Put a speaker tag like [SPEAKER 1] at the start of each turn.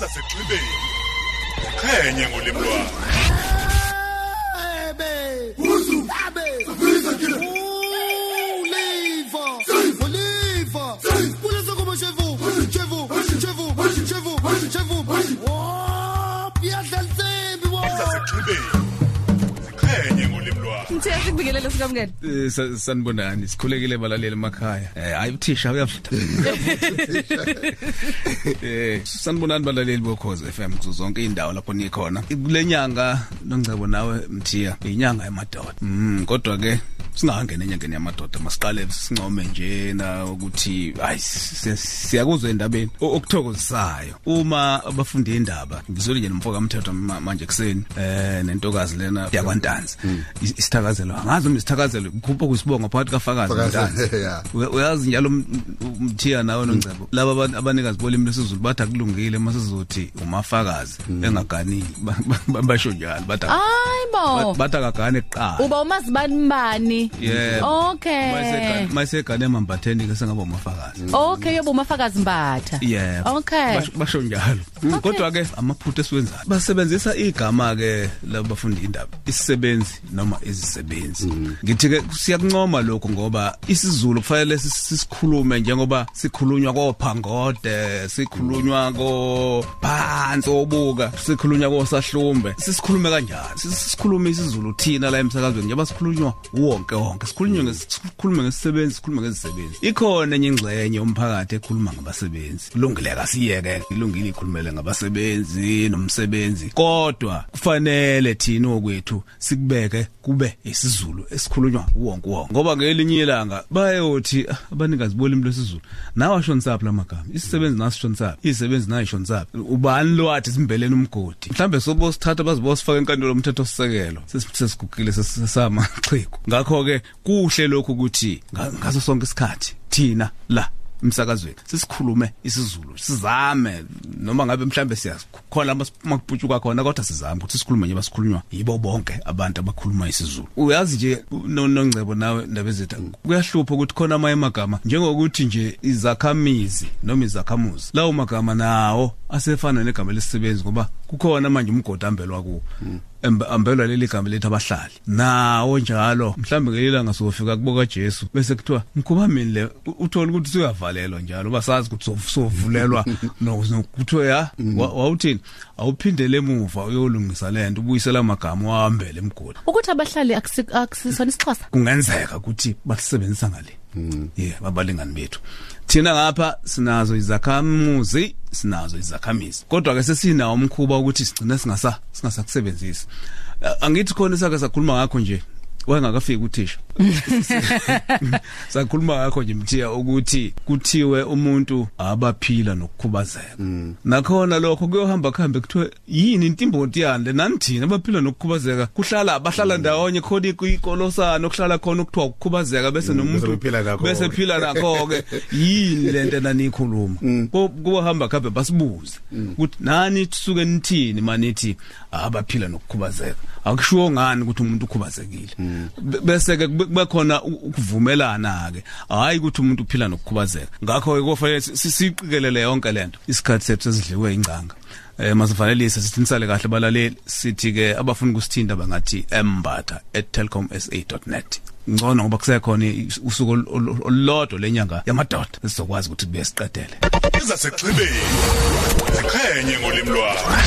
[SPEAKER 1] zasenxibeni ziqhenye ngolimi lwakho
[SPEAKER 2] Ebe. Uzu. Abe. Ubiza kile. Uliva. Uliva. Uliza como chevu. Chevu. Chevu. Chevu. Chevu. Oh, piyadla nsimbi wo.
[SPEAKER 1] zasenxibeni ziqhenye ngolimi lwakho
[SPEAKER 3] Mthe sikubingelele sikamkele.
[SPEAKER 4] Eh, sa- sanibonani sikhulekile balaleli emakhaya eh hayi uthisha uyafutha eh sanibonani balaleli bokhoze FM kuzo zonke indawo lapho nikhona kulenyanga nongcebo nawe mthiya inyanga yamadoda mm kodwa ke singangena enyangeni yamadoda masiqale sincome nje na ukuthi hayi si- si- siyakuzwa endabeni o- okuthokozisayo uma abafundi indaba ngizole nje nomfoka umthetho ma- manje kuseni eh nentokazi lena yakwantanzi Is- isithakazelo angazi uma isithakazelo kupho kusibonga phakathi kafakazi
[SPEAKER 2] Fakazi,
[SPEAKER 4] ntanzi
[SPEAKER 2] yeah.
[SPEAKER 4] Uya- uyazi njalo um- um- umthiya nawe nongcebo laba abantu abanikazi bolimi lesizulu bathi akulungile masizothi umafakazi engaganile Ba- ba- ba- basho njalo bathi
[SPEAKER 3] Hayi bo.
[SPEAKER 4] bathi akagane kuqala
[SPEAKER 3] Uba umazibani bani?
[SPEAKER 4] yebo
[SPEAKER 3] Okay.
[SPEAKER 4] mayisegane emambatheni ke sengaba umafakazi
[SPEAKER 3] Okay, yobo umafakazi mbatha.
[SPEAKER 4] Yeah.
[SPEAKER 3] Okay.
[SPEAKER 4] Basho- Basho njalo. Mm,
[SPEAKER 3] Okay.
[SPEAKER 4] Kodwa ke amaphutha esiwenzayo. Basebenzisa igama ke laba bafunda indaba. Isisebenzi noma izisebenzi. Ngithi ke siyakuncoma lokho ngoba isiZulu kufanele sis- sisikhulume njengoba sikhulunywa kophangode, sikhulunywa ko phansi obuka, sikhulunywa ko sahlumbe. Sisikhulume kanjani? Sis- Sisikhulume isiZulu thina la emsakazweni njengoba sikhulunywa wonke wonke. Sikhulunywa ngesikhulume ngesisebenzi, sikhulume ngezisebenzi. Ikhona enye ingxenye yomphakathi ekhuluma ngabasebenzi. Kulungile kasiyeke, ilungile ikhulumele ngabasebenzi nomsebenzi. Kodwa kufanele thina okwethu sikubeke kube isiZulu esikhulunywa wonke wonke. Ngoba ngelinye ilanga bayothi "Ah, abanikazi bolimi lwesiZulu, nawa shonisaphi lamagama. Isisebenzi nasishonisaphi, izisebenzi nayishonisaphi. Ubani lo athi simbelene umgodi? Mhlambe sobo sithatha bazibo sifaka enkantolo umthetho sisekelo. Sesigugile sesamaxhego. Ngakho ke kuhle lokhu ukuthi nga- ngaso sonke isikhathi thina la emsakazweni sisikhulume isiZulu sizame noma ngabe mhlambe siyakhona amakuputshuka khona kodwa sizame ukuthi sikhulume nje basikhulunywa yibo bonke abantu abakhuluma isiZulu uyazi nje no- nongcebo nawe ndaba ezethu kuyahlupha ukuthi khona amaye magama njengokuthi nje izakhamizi noma izakhamuzi lawo magama nawo asefana negama lesisebenzi ngoba kukhona manje umgodambelwa kuwo Emb- ambelwa leli gama lethu abahlali nawo njalo mhlambe ngelilanga sofika kuboka Jesu bese kuthiwa mkhuba mini le U- uthola ukuthi suyavalelwa njalo basazi ukuthi sof- sovulelwa no no- kuthiwa ya wa- wawuthini awuphindele emuva uyolungisa lento ubuyisela amagama wahambele emgodi
[SPEAKER 3] Ukuthi abahlali akusi- akusisona isixhosa.
[SPEAKER 4] kungenzeka ukuthi basebenzisa ngale yeah babalingani bethu thina ngapha sinazo izakhamuzi sinazo izakhamizi kodwa ke sesinawo umkhuba ukuthi sigcine singasa singasakusebenzisi Eh, angithi khona sake sakhuluma ngakho nje wayengakafiki uthisha sakhuluma ngakho nje mthiya ukuthi kuthiwe umuntu abaphila nokukhubazeka nakhona lokho kuyohamba kuhambe kuthiwe yini intimboti yande nanithina abaphila nokukhubazeka kuhlala bahlala ndawonye khona ikolosana okuhlala khona ukuthiwa ukukhubazeka bese nomuntu
[SPEAKER 5] kuphila nakho-ke.
[SPEAKER 4] bese phila nakho ke yini lento nanikhuluma Ku- kuhamba kabe basibuze ukuthi nani tsuke nithini manithi abaphila nokukhubazeka akushiwo ngani ukuthi umuntu ukhubazekile Be- bese ke kube kube khona u- ukuvumelana ke hayi ukuthi umuntu uphila nokukhubazeka ngakho ke kufanele si- siqikelele yonke lento isikhathi sethu sesidliwe ingcanga Eh masivalelise sithinisale kahle balaleli sithi ke abafuna ukusithinta bangathi mbatha@telkomsa.net ngcono ngoba kusekhona i- usuku ol- ol- olulodwa lenyanga yamadoda sizokwazi ukuthi sibe siqedele
[SPEAKER 1] zasenxibeni ziqhenye ngolimi lwakho